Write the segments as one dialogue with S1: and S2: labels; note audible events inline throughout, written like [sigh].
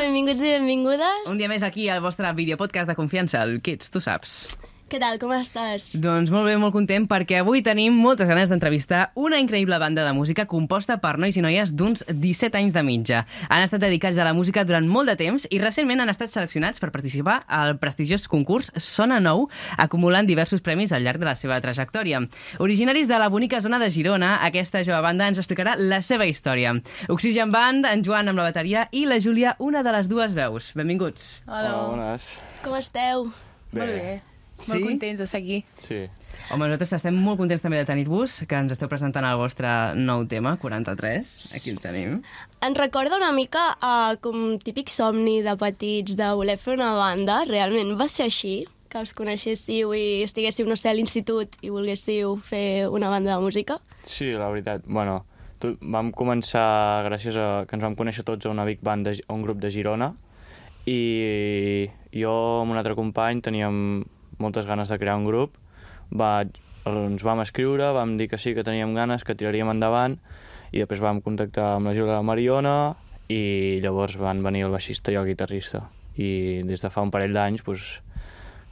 S1: Benvinguts i benvingudes.
S2: Un dia més aquí al vostre videopodcast de confiança, el Kids, tu saps.
S1: Què tal, com estàs?
S2: Doncs molt bé, molt content, perquè avui tenim moltes ganes d'entrevistar una increïble banda de música composta per nois i noies d'uns 17 anys de mitja. Han estat dedicats a la música durant molt de temps i recentment han estat seleccionats per participar al prestigiós concurs Sona Nou, acumulant diversos premis al llarg de la seva trajectòria. Originaris de la bonica zona de Girona, aquesta jove banda ens explicarà la seva història. Oxygen Band, en Joan amb la bateria i la Júlia, una de les dues veus. Benvinguts.
S3: Hola.
S4: bones.
S1: Com esteu?
S4: Bé.
S3: Molt bé.
S2: Sí?
S3: Molt contents de seguir.
S4: Sí.
S2: Home, nosaltres estem molt contents també de tenir-vos, que ens esteu presentant el vostre nou tema, 43. Aquí el tenim.
S1: Ens recorda una mica a com típic somni de petits de voler fer una banda. Realment va ser així? Que us coneixéssiu i estiguéssiu, no sé, a l'institut i volguéssiu fer una banda de música?
S4: Sí, la veritat. Bueno, tot, vam començar gràcies a que ens vam conèixer tots a una big band, de, Gi- a un grup de Girona, i jo amb un altre company teníem moltes ganes de crear un grup. Va, ens vam escriure, vam dir que sí, que teníem ganes, que tiraríem endavant, i després vam contactar amb la Júlia i la Mariona, i llavors van venir el baixista i el guitarrista. I des de fa un parell d'anys, doncs,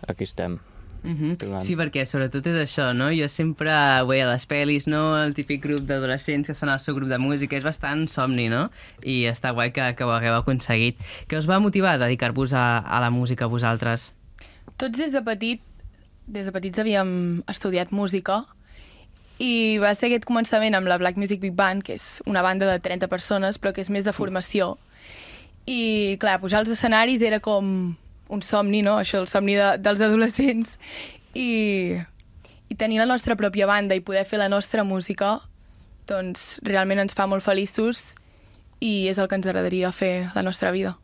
S4: aquí estem.
S2: Mm -hmm.
S4: Endavant.
S2: Sí, perquè sobretot és això, no? Jo sempre ho veia a les pel·lis, no? El típic grup d'adolescents que es fan al seu grup de música. És bastant somni, no? I està guai que, que ho hagueu aconseguit. Què us va motivar a dedicar-vos a, a la música, vosaltres?
S3: Tots des de petit, des de petits havíem estudiat música i va ser aquest començament amb la Black Music Big Band, que és una banda de 30 persones, però que és més de formació. I, clar, pujar als escenaris era com un somni, no? Això, el somni de, dels adolescents. I, I tenir la nostra pròpia banda i poder fer la nostra música, doncs realment ens fa molt feliços i és el que ens agradaria fer la nostra vida.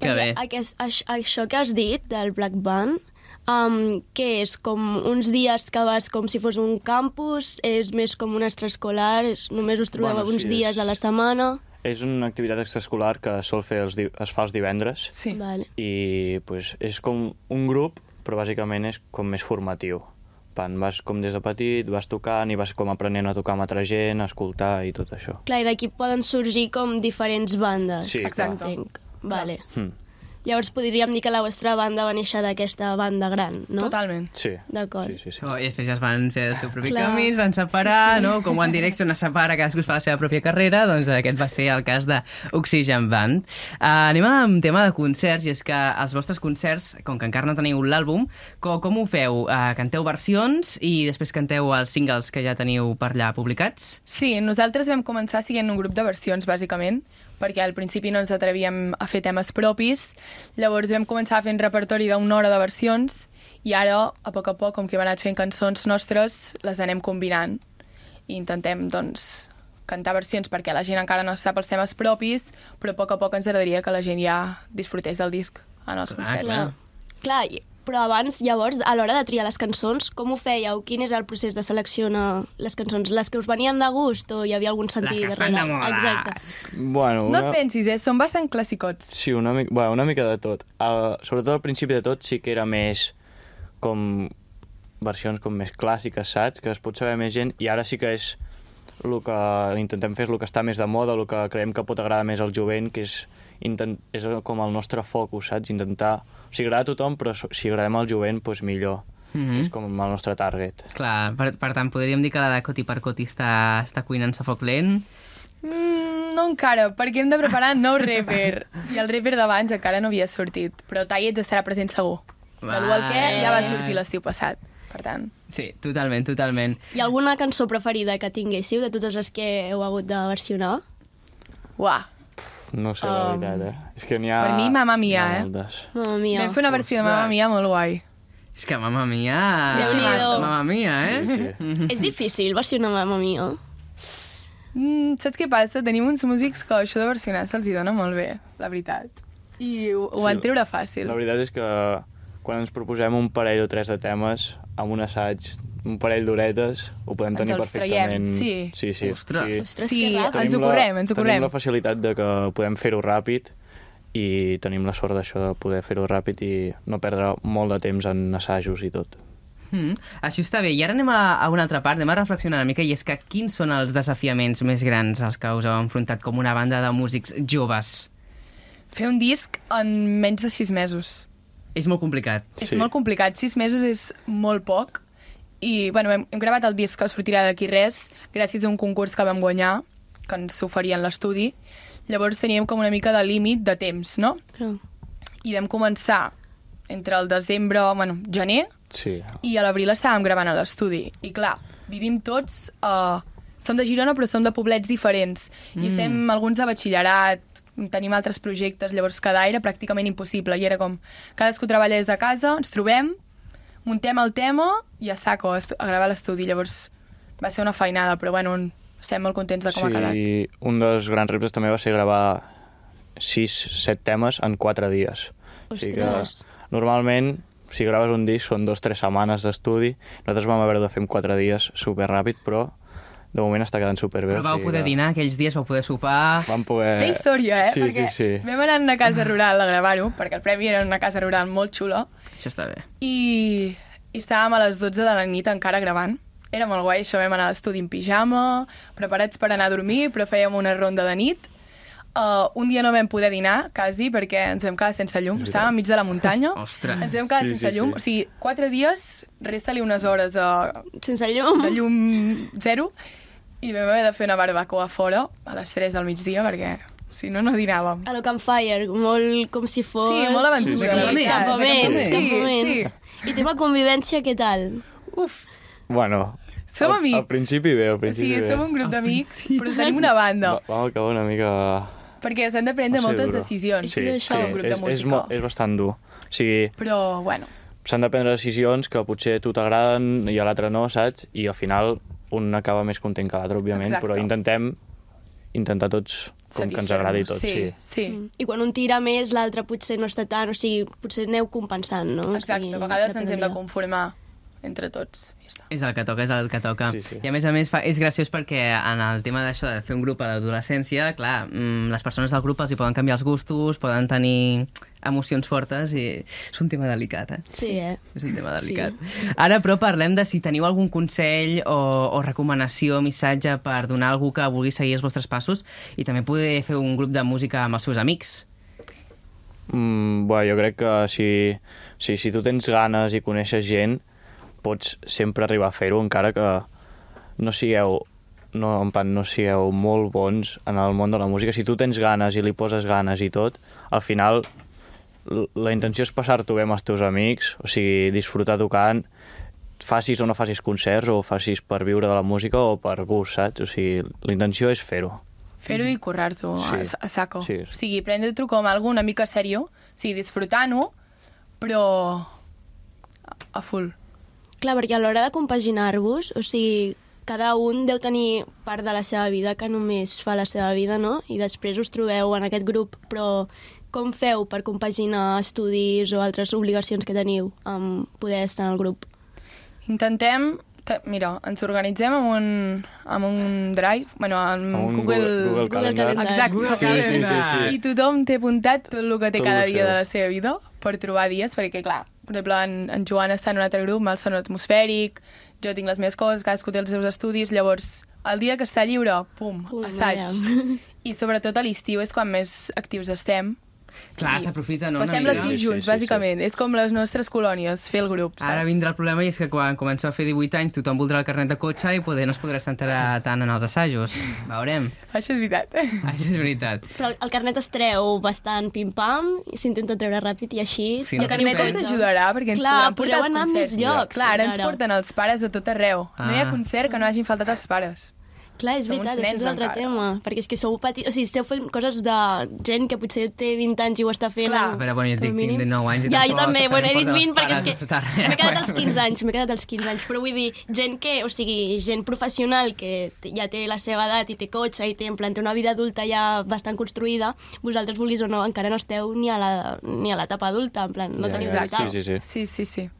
S2: Que bé.
S1: Aquest, aix- això que has dit del Black Band, um, què és? Com uns dies que vas com si fos un campus? És més com un extraescolar? És, només us trobeu
S4: Bueno,
S1: uns
S4: sí,
S1: dies
S4: és-
S1: a la setmana?
S4: És una activitat extraescolar que sol fer els, di- es fa els divendres
S3: Sí.
S1: Vale.
S4: i pues, és com un grup, però bàsicament és com més formatiu. Pan, vas com des de petit, vas tocant i vas com aprenent a tocar amb altra gent, a escoltar i tot això.
S1: Clar, i d'aquí poden sorgir com diferents bandes.
S4: Sí,
S3: Exacte. clar.
S1: Entenc. Vale.
S4: Hm.
S1: Llavors podríem dir que la vostra banda va néixer d'aquesta banda gran, no?
S3: Totalment.
S4: Sí.
S1: D'acord.
S4: Sí, sí, sí.
S2: Oh, I després ja es van fer el seu propi Clar.
S1: Clar.
S2: camí, es van separar, sí, sí. no? Com One Direction es separa, cadascú es fa la seva pròpia carrera, doncs aquest va ser el cas d'Oxygen Band. Uh, anem amb tema de concerts, i és que els vostres concerts, com que encara no teniu l'àlbum, com, com ho feu? Uh, canteu versions i després canteu els singles que ja teniu per allà publicats?
S3: Sí, nosaltres vam començar siguent un grup de versions, bàsicament, perquè al principi no ens atrevíem a fer temes propis, llavors vam començar fent repertori d'una hora de versions, i ara, a poc a poc, com que hem anat fent cançons nostres, les anem combinant. I intentem, doncs, cantar versions perquè la gent encara no sap els temes propis, però a poc a poc ens agradaria que la gent ja disfrutés del disc en els
S2: Clar,
S3: concerts.
S2: clar.
S1: Clar, i- però abans, llavors, a l'hora de triar les cançons, com ho fèieu? Quin és el procés de seleccionar les cançons? Les que us venien de gust o hi havia algun sentit?
S2: Les que estan
S1: darrere?
S2: de moda.
S1: Exacte.
S4: Bueno,
S3: No et pensis, eh? Són bastant classicots.
S4: Sí, una, mica, bueno, una mica de tot. El, sobretot al principi de tot sí que era més com versions com més clàssiques, saps? Que es pot saber més gent i ara sí que és el que intentem fer és el que està més de moda, el que creiem que pot agradar més al jovent, que és, intent, és com el nostre focus, saps? Intentar... O sigui, agrada a tothom, però so- si agradem al jovent, doncs millor.
S2: Mhm.
S4: És com el nostre target.
S2: Clar, per, per tant, podríem dir que la de Coti per Coti està, està cuinant-se a foc lent.
S3: Mm, no encara, perquè hem de preparar nou rapper. I el rapper d'abans encara no havia sortit, però Tallets estarà present segur. De l'1 al què ja va sortir l'estiu passat, per tant.
S2: Sí, totalment, totalment.
S1: Hi ha alguna cançó preferida que tinguéssiu de totes les que heu hagut de versionar?
S3: Uah.
S4: No sé, la
S3: Um,
S4: veritat, eh? És que n'hi ha...
S3: per mi, Mamma Mia,
S4: n'hi ha
S3: eh?
S4: moltes.
S1: Mamma mia.
S3: Vam fer una versió de Mamma Mia molt guai.
S2: És que, mamma mia...
S1: Déu-n'hi-do.
S2: Mamma mia, eh?
S4: Sí, sí.
S1: És difícil versionar Mamma Mia.
S3: Mm, saps què passa? Tenim uns músics que això de versionar se'ls hi dona molt bé, la veritat. I ho, ho van
S4: Sí,
S3: treure fàcil.
S4: La veritat és que quan ens proposem un parell o tres de temes amb un assaig, un parell d'horetes, ho podem
S3: Ens
S4: tenir
S3: els traiem,
S4: perfectament.
S3: sí.
S4: sí, sí.
S2: Ostres.
S4: Sí.
S1: Ostres,
S3: Sí,
S1: que ràpid.
S3: ens ho
S4: Tenim la-
S3: correm, ens ho correm.
S4: Tenim la facilitat de que podem fer-ho ràpid i tenim la sort d'això de poder fer-ho ràpid i no perdre molt de temps en assajos i tot.
S2: Mm, això està bé. I ara anem a, a una altra part, anem a reflexionar una mica, i és que quins són els desafiaments més grans als que us heu enfrontat com una banda de músics joves?
S3: Fer un disc en menys de sis mesos.
S2: És molt complicat.
S3: Sí. És
S4: Sí.
S3: molt complicat. Sis mesos és molt poc. I, bueno, hem, hem gravat el disc que sortirà d'aquí res gràcies a un concurs que vam guanyar, que ens oferia en l'estudi. Llavors teníem com una mica de límit de temps, no?
S1: Clar.
S3: I vam començar entre el desembre, bueno, gener,
S4: Sí.
S3: i a l'abril estàvem gravant a l'estudi. I clar, vivim tots... Uh, som de Girona, però som de poblets diferents. Mm. I estem alguns de batxillerat, tenim altres projectes, llavors cada era pràcticament impossible. I era com, cadascú treballa des de casa, ens trobem, muntem el tema i a saco, a, estu- a gravar a l'estudi. Llavors va ser una feinada, però bueno, en- estem molt contents de com sí. ha quedat.
S4: Sí, eh, un dels grans reptes també va ser gravar 6-7 temes en 4 dies. O sigui que
S1: Ostres.
S4: normalment, si graves un disc, són 2-3 setmanes d'estudi. Nosaltres vam haver de fer en 4 dies superràpid, però de moment està quedant superbé.
S2: Però
S4: o
S2: vau
S4: sigui
S2: poder
S4: que
S2: dinar aquells dies, vau poder sopar...
S4: Vam poder...
S3: Té història, eh?
S4: Sí,
S3: perquè
S4: sí, sí.
S3: vam anar a una casa rural a gravar-ho, perquè el premi era una casa rural molt xula,
S2: Això està bé.
S3: I, i estàvem a les 12 de la nit encara gravant. Era molt guai, això vam anar a l'estudi en pijama, preparats per anar a dormir, però fèiem una ronda de nit. Uh, un dia no vam poder dinar, quasi, perquè ens vam quedar sense llum. Estàvem enmig de la
S4: [laughs]
S3: muntanya.
S2: Ostres.
S3: Ens vam quedar
S4: Sí,
S3: sí, sense
S4: sí,
S3: llum.
S4: sí.
S3: O sigui, quatre dies, resta-li unes hores de,
S1: Sense llum.
S3: de llum zero, i vam haver de fer una barbacoa fora a les 3 del migdia, perquè si no, no dinàvem.
S1: A lo Campfire, molt com si fos...
S3: Sí, molt aventura,
S1: Sí,
S4: de
S1: sí,
S4: veritat.
S1: campaments,
S4: Sí,
S1: campaments. I tema convivència, què tal?
S3: Uf,
S4: Bueno,
S3: som
S4: al,
S3: amics.
S4: Al principi bé, al
S3: O
S4: principi
S3: sigui,
S4: bé.
S3: som un grup d'amics, però tenim una banda.
S4: Va, vam acabar una mica...
S3: Perquè s'han de prendre
S4: va ser Oh,
S3: moltes
S4: duro.
S3: decisions
S1: Sí,
S3: en
S1: sí,
S3: un grup
S4: és,
S3: de música.
S4: És, mo- és bastant dur. O sigui,
S3: Però, bueno,
S4: s'han de prendre decisions que potser a tu t'agraden i a l'altre no, saps? I al final un acaba més content que l'altre, òbviament,
S3: Exacte.
S4: però intentem intentar tots com que ens
S3: satisfer-nos.
S4: agradi tot, sí.
S3: Sí, sí.
S1: Mm. I quan un tira més, l'altre potser no està tant, o sigui, potser aneu compensant, no?
S3: Exacte,
S1: o sigui,
S3: a vegades
S1: depèn
S3: ens hem de
S1: dia.
S3: conformar entre tots. Ja està.
S2: És el que toca, és el que toca.
S4: Sí, sí.
S2: I a més a més fa, és graciós perquè en el tema d'això de fer un grup a l'adolescència, clar, mm, les persones del grup els hi poden canviar els gustos, poden tenir emocions fortes i és un tema delicat, eh?
S1: Sí, eh?
S2: És un tema delicat. Sí. Ara, però, parlem de si teniu algun consell o, o recomanació, missatge per donar a algú que vulgui seguir els vostres passos i també poder fer un grup de música amb els seus amics.
S4: Mm, bueno, jo crec que si, si, si tu tens ganes i coneixes gent, pots sempre arribar a fer-ho, encara que no sigueu no, en plan, no sigueu molt bons en el món de la música. Si tu tens ganes i li poses ganes i tot, al final l- la intenció és passar-t'ho bé amb els teus amics, o sigui, disfrutar tocant, facis o no facis concerts, o facis per viure de la música o per gust, saps? O sigui, la intenció és fer-ho.
S3: Fer-ho i currar-t'ho a,
S4: Sí.
S3: a saco.
S4: Sí.
S3: O sigui, prendre-t'ho com algo una mica seriós, o sigui, disfrutant-ho, però a- a full.
S1: Clar, perquè a l'hora de compaginar-vos, o sigui, cada un deu tenir part de la seva vida que només fa la seva vida, no? I després us trobeu en aquest grup, però com feu per compaginar estudis o altres obligacions que teniu amb poder estar en el grup?
S3: Intentem... te- Mira, ens organitzem amb un, amb un Drive, bueno, amb,
S4: Amb un
S3: Mm, Google,
S4: Google- Google
S1: Calendar.
S3: Exacte.
S1: Google
S4: Sí, sí, sí, Calendar. sí.
S3: I tothom té apuntat tot el que té
S4: Tot
S3: cada
S4: el
S3: dia
S4: seu.
S3: de la seva vida per trobar dies, perquè, clar, per exemple, en, en Joan està en un altre grup, amb el sonor atmosfèric, jo tinc les meves coses, cadascú té els seus estudis, llavors, el dia que està lliure, pum,
S1: Ui,
S3: assaig.
S1: vaja.
S3: I sobretot a l'estiu és quan més actius estem.
S2: Clar,
S3: I
S2: s'aprofita, no? Una
S3: Passem
S2: mica.
S3: l'estiu
S4: Sí, sí,
S3: junts,
S4: sí, sí.
S3: bàsicament. És com les nostres colònies, fer el grup, saps?
S2: Ara vindrà el problema i és que quan començo a fer 18 anys tothom voldrà el carnet de cotxe i poder no es podrà centrar tant en els assajos. Veurem.
S3: Això és veritat.
S2: Això és veritat.
S1: Però el carnet es treu bastant pim-pam, i s'intenta treure ràpid i així...
S2: Sí,
S1: ja
S2: no
S1: teniu
S3: Carnet ens
S1: cotxe.
S3: ajudarà perquè ens
S1: Clar,
S3: podran portar
S1: podreu
S3: als
S1: anar a
S3: concerts.
S1: més llocs,
S3: Clar, ara ens
S1: ara.
S3: porten els pares de tot arreu. No hi ha
S2: Ah.
S3: concert que no hagin faltat els pares.
S1: Clar, és
S3: Som uns
S1: veritat, això
S3: nens
S1: és un altre
S3: encara.
S1: tema, perquè és que sou petits, o sigui, esteu fent coses de gent que potser té 20 anys i ho està fent.
S3: Clar.
S1: o-
S2: A veure, bueno, jo
S1: com a
S2: tinc
S1: mínim.
S2: 19 anys i
S1: Ja,
S2: tampoc-
S1: jo també,
S2: també
S1: bueno, he dit
S2: porten els
S1: 20 perquè és
S2: pares
S1: que
S2: tot arreu,
S1: m'he quedat
S2: bueno.
S1: als 15 anys, m'he quedat als 15 anys, però vull dir, gent que, o sigui, gent professional que té- ja té la seva edat i té cotxe i té, en plan, té una vida adulta ja bastant construïda, vosaltres vulguis o no, encara no esteu ni a la- ni a l'etapa adulta, en plan, no
S4: Ja,
S1: teniu
S4: ja,
S1: veritat.
S4: sí, sí, sí.
S3: Sí, sí, sí.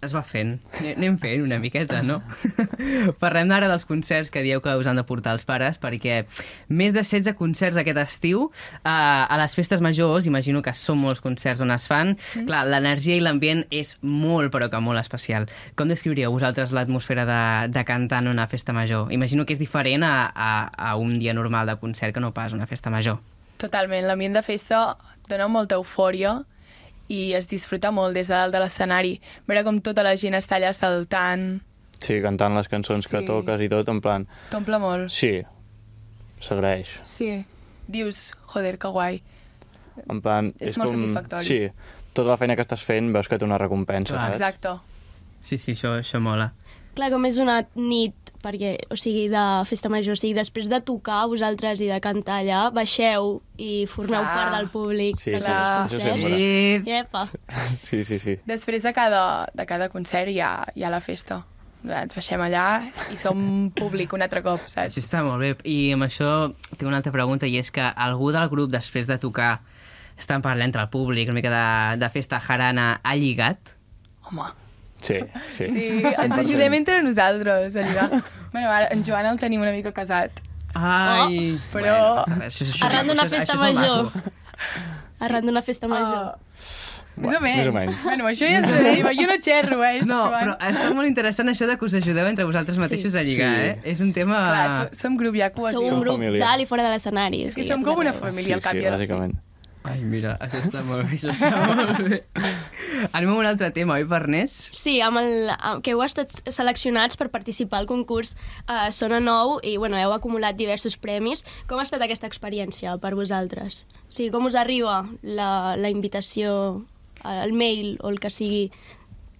S2: Es va fent. Anem fent una miqueta, no? [laughs] Parlem ara dels concerts que dieu que us han de portar els pares, perquè més de 16 concerts aquest estiu eh, a les festes majors, imagino que són molts concerts on es fan. Mm. Clar, l'energia i l'ambient és molt, però que molt especial. Com descriuríeu vosaltres l'atmosfera de, de cantar en una festa major? Imagino que és diferent a, a, a un dia normal de concert que no pas una festa major.
S3: Totalment, l'ambient de festa dona molta eufòria i es disfruta molt des de dalt de l'escenari. Veure com tota la gent està allà saltant,
S4: Sí, cantant les cançons que
S3: Sí.
S4: toques i tot, en plan...
S3: t'omple molt.
S4: Sí, s'agraeix.
S3: Sí. Dius, joder, que guai.
S4: En plan...
S3: És molt satisfactori.
S4: Sí, tota la feina que estàs fent veus que té una recompensa,
S2: Clar.
S4: saps?
S3: Exacte.
S2: Sí, sí, això, això mola.
S1: Clar, com és una nit, perquè, o sigui, de festa major, o sigui, després de tocar vosaltres i de cantar allà, baixeu i formeu
S3: Clar.
S1: part del públic.
S4: Sí,
S1: de
S4: sí,
S1: cada
S4: això
S1: concert.
S4: sempre.
S2: I...
S1: Iepa.
S4: [laughs] Sí, sí, sí.
S3: Després de cada, de cada concert hi ha, hi ha la festa. Ens baixem allà i som públic un altre cop,
S2: Això
S3: saps?
S2: està molt bé. I amb això tinc una altra pregunta, i és que algú del grup, després de tocar, estan parlant entre el públic, una mica de, de festa jarana, ha lligat?
S3: Home,
S4: Sí, sí.
S3: sí, ens ajudem entre nosaltres a lligar. Bueno, ara en Joan el tenim una mica casat.
S2: Ai!
S3: Oh, però-
S2: no passa res, això- això-
S1: Arran d'una
S2: això-
S1: festa
S2: això és molt
S1: major.
S2: maco.
S1: Arran d'una festa major.
S3: Ah, més, o menys.
S4: més o menys.
S3: Bueno, això ja és de dir, jo no xerro, eh,
S2: No,
S3: Joan.
S2: però està molt interessant això de que us ajudeu entre vosaltres mateixos a lligar,
S4: Sí.
S2: eh? És un tema...
S3: Clar, so, som grup, hi ha cohesió.
S1: Sou un grup
S4: família.
S1: dalt i fora de l'escenari. o
S3: És que
S1: sigui,
S3: som
S1: a
S3: com
S1: tot
S3: una
S1: arreu.
S3: família
S4: sí,
S3: al cap
S4: sí,
S3: i a la fi.
S4: bàsicament.
S2: Ai, mira, això està molt bé, això està molt bé. Anem a un altre tema, oi, Farners?
S1: Sí, amb el, amb, que heu estat seleccionats per participar al concurs eh, Sona Nou i bueno, heu acumulat diversos premis. Com ha estat aquesta experiència per vosaltres? O sigui, com us arriba la, la invitació, eh, el mail o el que sigui?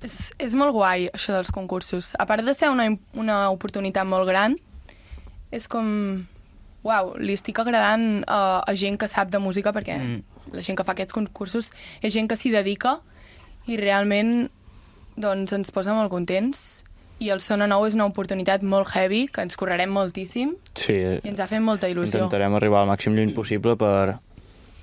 S3: És, és molt guai, això dels concursos. A part de ser una, una oportunitat molt gran, és com... Uau, li estic agradant a, a gent que sap de música, perquè
S2: Mm.
S3: mm. la gent que fa aquests concursos és gent que s'hi dedica i realment doncs, ens posa molt contents i el Sona Nou és una oportunitat molt heavy, que ens correrem moltíssim
S4: Sí, eh,
S3: i ens ha fet molta il·lusió.
S4: intentarem arribar al màxim lluny possible per,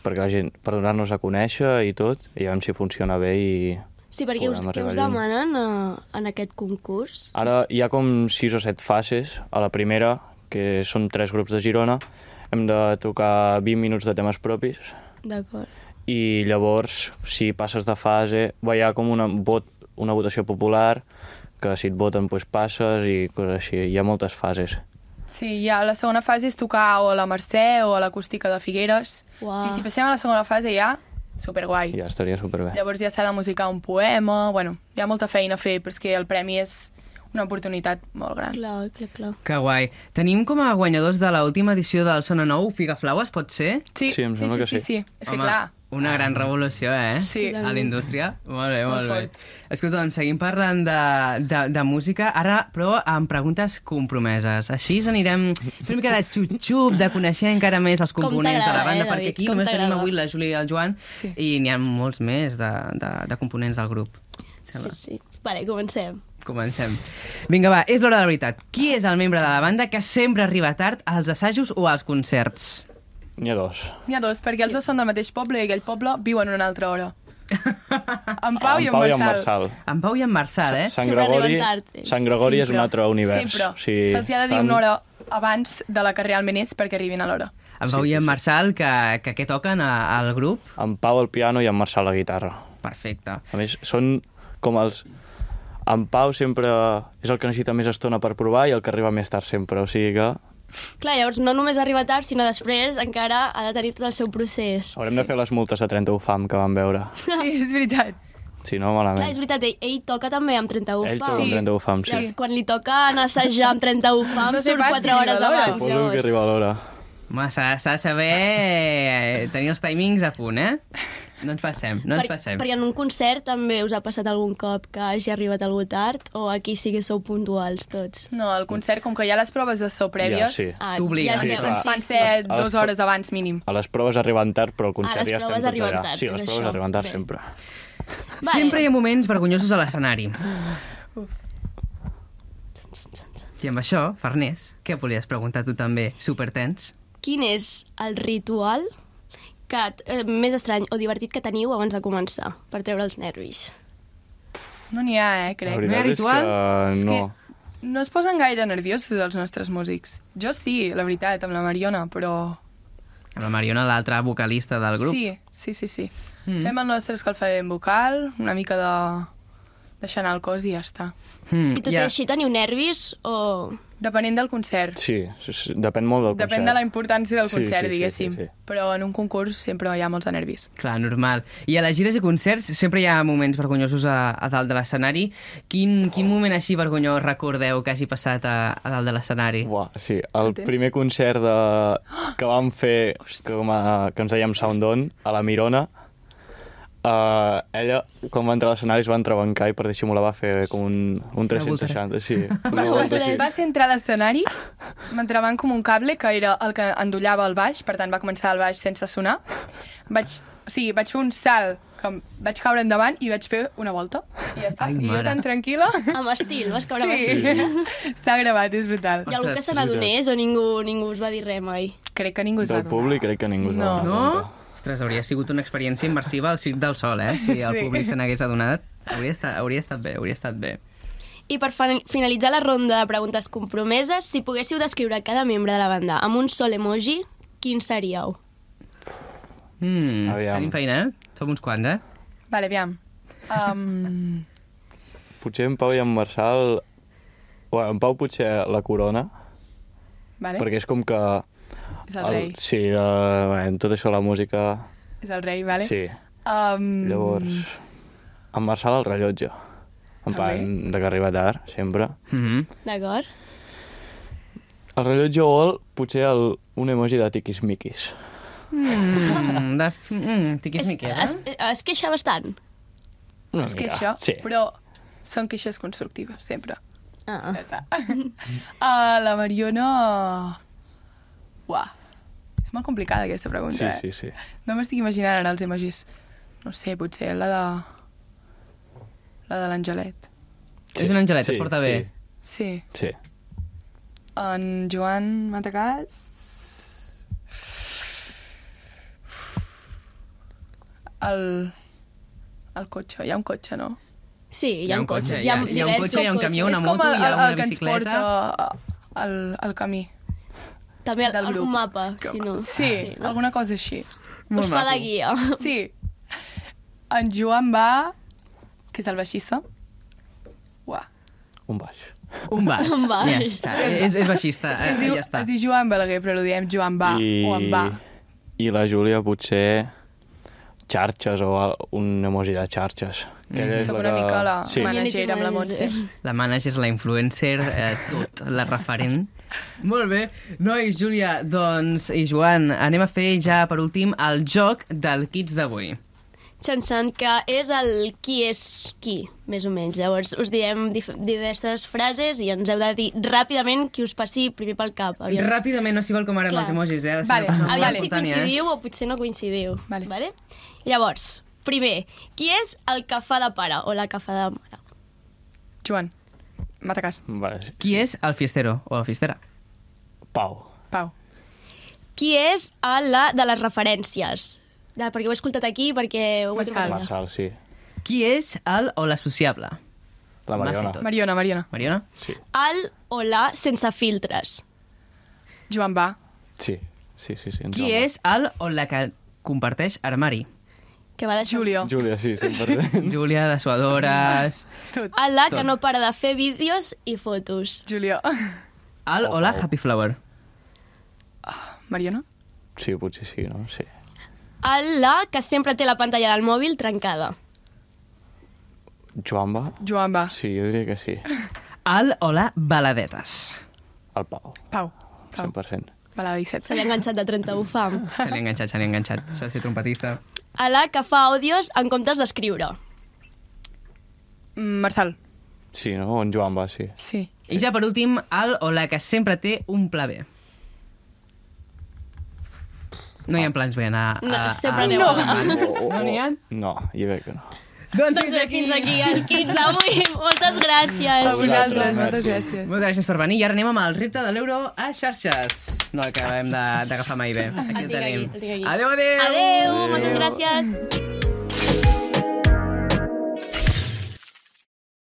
S4: perquè la gent, per donar-nos a conèixer i tot, i veure si funciona bé i...
S1: Sí, perquè us, què
S4: Podem
S1: us
S4: arribar lluny.
S1: demanen a, en aquest concurs?
S4: Ara hi ha com sis o set fases. A la primera, que són tres grups de Girona, hem de tocar 20 minuts de temes propis
S1: D'acord.
S4: i llavors, si passes de fase, va, hi ha com una, vot, una votació popular que si et voten doncs passes i coses així. Hi ha moltes fases.
S3: Sí, ja la segona fase és tocar o a la Mercè o a l'acústica de Figueres.
S1: Uau.
S3: Sí, si passem a la segona fase ja, superguai.
S4: Ja estaria superbé.
S3: Llavors ja s'ha de musicar un poema, bueno, hi ha molta feina a fer, però és que el premi és una oportunitat molt gran.
S1: Clar, clar, clar.
S2: Que guai. Tenim com a guanyadors de l'última edició del Sona Nou, Figaflaues, pot ser?
S3: Sí,
S4: Sí, em
S3: sí,
S4: sembla
S3: sí,
S4: que
S3: sí,
S4: sí.
S3: sí. És que clar,
S2: Una gran revolució, eh?
S3: Sí.
S2: A la indústria. Molt bé, molt,
S3: Molt
S2: bé.
S3: fort.
S2: Escolta, doncs seguim parlant de, de, de música, ara però amb preguntes compromeses. Així anirem fent una mica de xup-xup, de conèixer encara més els
S1: Com
S2: components de la
S1: t'agrada,
S2: banda,
S1: eh,
S2: perquè
S1: David?
S2: aquí
S1: Com
S2: només tenim
S1: t'agrada.
S2: avui la Júlia i el Joan,
S3: Sí.
S2: i n'hi ha molts més de, de, de components del grup.
S1: Sí, sí. Vale, comencem.
S2: Comencem. Vinga, va, és l'hora de la veritat. Qui és el membre de la banda que sempre arriba tard als assajos o als concerts?
S4: N'hi ha dos.
S3: n'hi ha dos, perquè els dos són del mateix poble i aquell poble viuen una altra
S4: [laughs]
S3: hora. En Pau,
S4: en
S3: i en
S4: Pau
S3: Marçal.
S4: i en Marçal.
S2: En Pau i en Marçal, eh?
S4: Sant
S1: Sempre
S4: Gregori,
S1: arriben tard, ells.
S4: Sant Gregori és un
S3: Sempre.
S4: altre univers.
S3: Sempre.
S4: o sigui,
S3: Se'ls hi ha de dir
S4: tant-
S3: una hora abans de la que realment és perquè arribin a
S4: [laughs]
S3: l'hora.
S2: En Pau i en Marçal, que, que què toquen a, al grup?
S4: En Pau al piano i en Marçal a la guitarra.
S2: Perfecte.
S4: A més, són com els... En Pau sempre és el que necessita més estona per provar i el que arriba més tard sempre, o sigui que
S1: Clar, llavors no només arriba tard, sinó després encara ha de tenir tot el seu procés.
S4: haurem sí. de fer les multes de 31 fam que vam veure.
S3: Sí, és veritat.
S4: Si
S1: Clar,
S4: no,
S1: és
S4: malament.
S1: veritat, ell, ell toca també amb 31
S4: Ell
S1: pau.
S4: toca amb
S3: Sí.
S4: 31 fam, sí.
S1: Llavors, quan li toca anar a assajar amb 31 fam,
S3: No
S1: no
S3: sé
S1: surt
S3: pas
S1: 4
S3: si
S1: hores abans.
S3: arriba l'hora.
S4: Suposo que
S1: Llavors.
S4: arriba l'hora.
S2: Home, s'ha s'ha de saber tenir els timings a punt, eh? No ens passem, no ens
S1: Per,
S2: passem.
S1: perquè en un concert també us ha passat algun cop que hagi arribat algú tard o aquí sí que sou puntuals tots.
S3: No, al concert, com que hi ha les proves de so prèvies,
S4: sí.
S2: T'obliguen.
S1: esteu-
S4: Sí, clar.
S3: ens fan ser
S4: A les
S3: dues
S4: pro-
S3: hores abans mínim.
S4: A les proves arriben tard, però al
S1: A
S4: concert
S1: les
S4: ja estem
S1: proves
S4: tots
S1: arriben
S4: allà.
S1: tard,
S4: sí, les
S1: és
S4: proves
S1: això.
S4: arriben tard
S1: Sí.
S4: sempre.
S1: Vale.
S2: Sempre hi ha moments vergonyosos a l'escenari. I amb això, Farners, què volies preguntar tu també, supertens?
S1: Quin és el ritual que, eh, més estrany o divertit que teniu abans de començar per treure els nervis?
S3: No n'hi ha, eh, crec.
S4: La
S2: No hi ha
S4: veritat és
S2: ritual?
S4: que
S3: És
S4: no.
S3: que no es posen gaire nerviosos els nostres músics. Jo sí, la veritat, amb la Mariona, però...
S2: Amb la Mariona, l'altra vocalista del grup.
S3: Sí, sí, sí, sí.
S2: Mm.
S3: Mm. Fem el nostre escalfament vocal, una mica de... deixar anar el cos i ja està.
S2: Mm,
S1: I tot
S2: ja.
S1: i així teniu nervis o...
S3: Depenent del concert.
S4: Sí, s- s- depèn molt del concert.
S3: Depèn de la importància del
S4: Sí,
S3: concert,
S4: sí, sí,
S3: diguéssim.
S4: sí, sí.
S3: Però en un concurs sempre hi ha molts de nervis.
S2: Clar, normal. I a les gires i concerts sempre hi ha moments vergonyosos a, a dalt de l'escenari. Quin, quin moment així vergonyós recordeu que hagi passat a, a dalt de l'escenari?
S4: Buah, sí, el
S3: Entens?
S4: primer concert de...
S1: [gasps]
S4: que vam fer, que, com a, que ens dèiem Sound On, a la Mirona, uh, ella, quan va entrar a l'escenari, es va entrebancar i per dissimular va fer com un, un
S2: Una voltereta.
S4: 360. Sí, una
S1: Una
S4: volta
S1: voltereta.
S4: així.
S3: Va ser entrar a l'escenari, m'entrevan com un cable, que era el que endollava el baix, per tant va començar el baix sense sonar. Vaig, o sigui, vaig fer un salt, que em- vaig caure endavant i vaig fer una volta. I ja està.
S2: Ai,
S3: I jo
S2: mare.
S3: tan tranquil·la.
S4: [laughs]
S1: Amb estil, vas caure amb estil.
S3: Sí. Està gravat, és brutal.
S1: Hi ha algú que
S2: Ostres,
S1: se n'adonés o ningú, ningú us va dir res mai?
S3: Crec que ningú es va
S4: Del
S3: adonar.
S4: públic crec que ningú es
S3: No.
S4: va donar
S2: No?
S4: compte.
S2: Ostres, hauria sigut una experiència immersiva al Circ del Sol, eh? Si el
S3: Sí.
S2: públic se n'hagués adonat, hauria estat, hauria estat bé, hauria estat bé.
S1: I per fin- finalitzar la ronda de preguntes compromeses, si poguéssiu descriure cada membre de la banda amb un sol emoji, quin seríeu?
S2: Mm,
S4: Aviam.
S2: tenim feina, eh? Som uns quants, eh?
S3: Vale, aviam. Um,
S4: Potser en Pau i en Marçal... Bueno, en Pau potser la corona,
S3: vale.
S4: perquè és com que...
S3: És el rei.
S4: sí, uh, bueno, en tot això la música...
S3: És el rei, vale? Mm.
S4: Sí.
S3: Um,
S4: Llavors, en Marçal el rellotge. En plan, de que arriba tard, sempre.
S2: Mm -hmm.
S1: D'acord?
S4: El rellotge o el, potser el, un emoji de tiquismiquis.
S2: Mm, de... Mm, tiquis-miquis,
S1: es,
S2: eh?
S1: es, es queixa bastant.
S4: Una
S3: És que
S4: mica,
S3: això,
S4: Sí.
S3: però són queixes constructives, sempre.
S1: Ah.
S3: Ja està. [laughs] Uh, la Mariona... Uah, és molt complicada aquesta
S4: Sí,
S3: pregunta,
S4: sí,
S3: eh?
S4: sí.
S3: No m'estic imaginant ara els emojis. No sé, potser la de... La de l'Angelet.
S2: És un angelet, es porta bé.
S4: Sí,
S3: Sí.
S4: sí.
S3: En Joan Matacàs... El... El cotxe, hi ha un cotxe, no?
S1: Sí, hi ha, un cotxe, hi ha,
S2: hi ha un
S1: diversos
S2: cotxe, hi ha un camió,
S1: cotxes.
S2: una
S3: és
S2: moto,
S3: com
S2: hi
S3: el,
S2: ha
S3: el,
S2: una
S3: el que
S2: bicicleta.
S3: ens porta al, al camí.
S1: També el,
S3: del grup.
S1: algun mapa, si no.
S3: Sí,
S1: no?
S3: alguna cosa així.
S2: Molt
S1: Us fa
S2: maco.
S1: de guia.
S3: Sí. En Joan va... que és el baixista. Uah.
S4: un baix.
S2: Un baix.
S1: Un baix.
S2: Ja, està. és, és baixista,
S3: Es,
S2: eh,
S3: diu,
S2: ja està.
S3: es diu Joan Balaguer, però li diem Joan va I... o en va.
S4: I la Júlia potser xarxes o al- un emoji de xarxes. Que ella és
S3: Sóc una mica la
S4: Eh, Sí,
S3: mare.
S1: Community
S3: Managera amb la
S1: manager.
S3: Montse.
S2: La manager, la influencer, eh, tot, la referent. Molt bé. Nois, Júlia, doncs, i Joan, anem a fer ja, per últim, el joc del Kids d'avui.
S1: Chansan, que és el qui és qui, més o menys. Llavors, us diem dif diverses frases i ens heu de dir ràpidament qui us passi primer pel cap.
S2: Ràpidament, no s'hi vol com ara amb
S1: Clar.
S2: els emojis, eh? ha de ser
S3: Vale,
S2: una cosa molt
S1: Aviam si
S2: espontània, eh?
S1: coincidiu o potser no coincidiu.
S3: Vale.
S1: Vale? Llavors, primer, qui és el que fa de pare o la que fa de mare?
S3: Joan. Matacàs.
S4: Vale, sí.
S2: Qui és el fiestero o la fiestera?
S4: Pau.
S3: Pau.
S1: Qui és a la de les referències? Ja, perquè ho he escoltat aquí, perquè ho he
S3: Marçal.
S1: trobat allà.
S4: Marçal, sí.
S2: Qui és el o la sociable? Massa
S4: La Mariona.
S2: tot.
S3: Mariona, Mariona.
S2: Mariona?
S4: Sí,
S1: El o la sense filtres.
S3: Joan va.
S4: sí, sí, sí. sí ens
S2: Qui
S4: vam-
S2: és el o la que comparteix armari?
S1: Que va deixar...
S3: Julio.
S4: Júlia, sí, 100%.
S2: Júlia, de suadores...
S3: Tot.
S1: A la que no para de fer vídeos i fotos.
S3: Julio. [laughs]
S2: El o la happy flower?
S3: Mariona.
S4: Sí, potser sí, no? Sí.
S1: A la que sempre té la pantalla del mòbil trencada.
S4: Joan va?
S3: Joan va.
S4: Sí, jo diria que sí.
S2: El o la baladetes?
S4: El Pau,
S3: Pau. Pau.
S4: 100%.
S3: Balada
S1: Se
S3: 17.
S1: li ha enganxat de 31 fam.
S2: Se li ha enganxat, se li ha enganxat. Això de ser trompetista.
S1: A la que fa àudios en comptes d'escriure.
S3: Mm, Marçal.
S4: Sí, no? O en Joan va, sí.
S3: Sí.
S2: I ja per últim, el o la que sempre té un pla B. No hi ha plans B a... a,
S1: No,
S2: a
S1: sempre
S2: a-
S1: aneu a-
S2: ah, No, no n'hi ha?
S4: No, jo crec que no.
S2: Doncs
S1: Doncs bé, fins aquí el kit d'avui. Moltes gràcies.
S3: A vosaltres,
S4: vosaltres,
S3: moltes
S4: merci.
S3: gràcies.
S2: Moltes gràcies per venir i ara anem amb el repte de l'euro a xarxes. No el que acabem de- d'agafar mai bé.
S1: El tinc
S2: Aquí el
S1: aquí,
S2: tenim.
S1: el tinc aquí.
S2: Adéu, adéu!
S1: Adeu, moltes gràcies.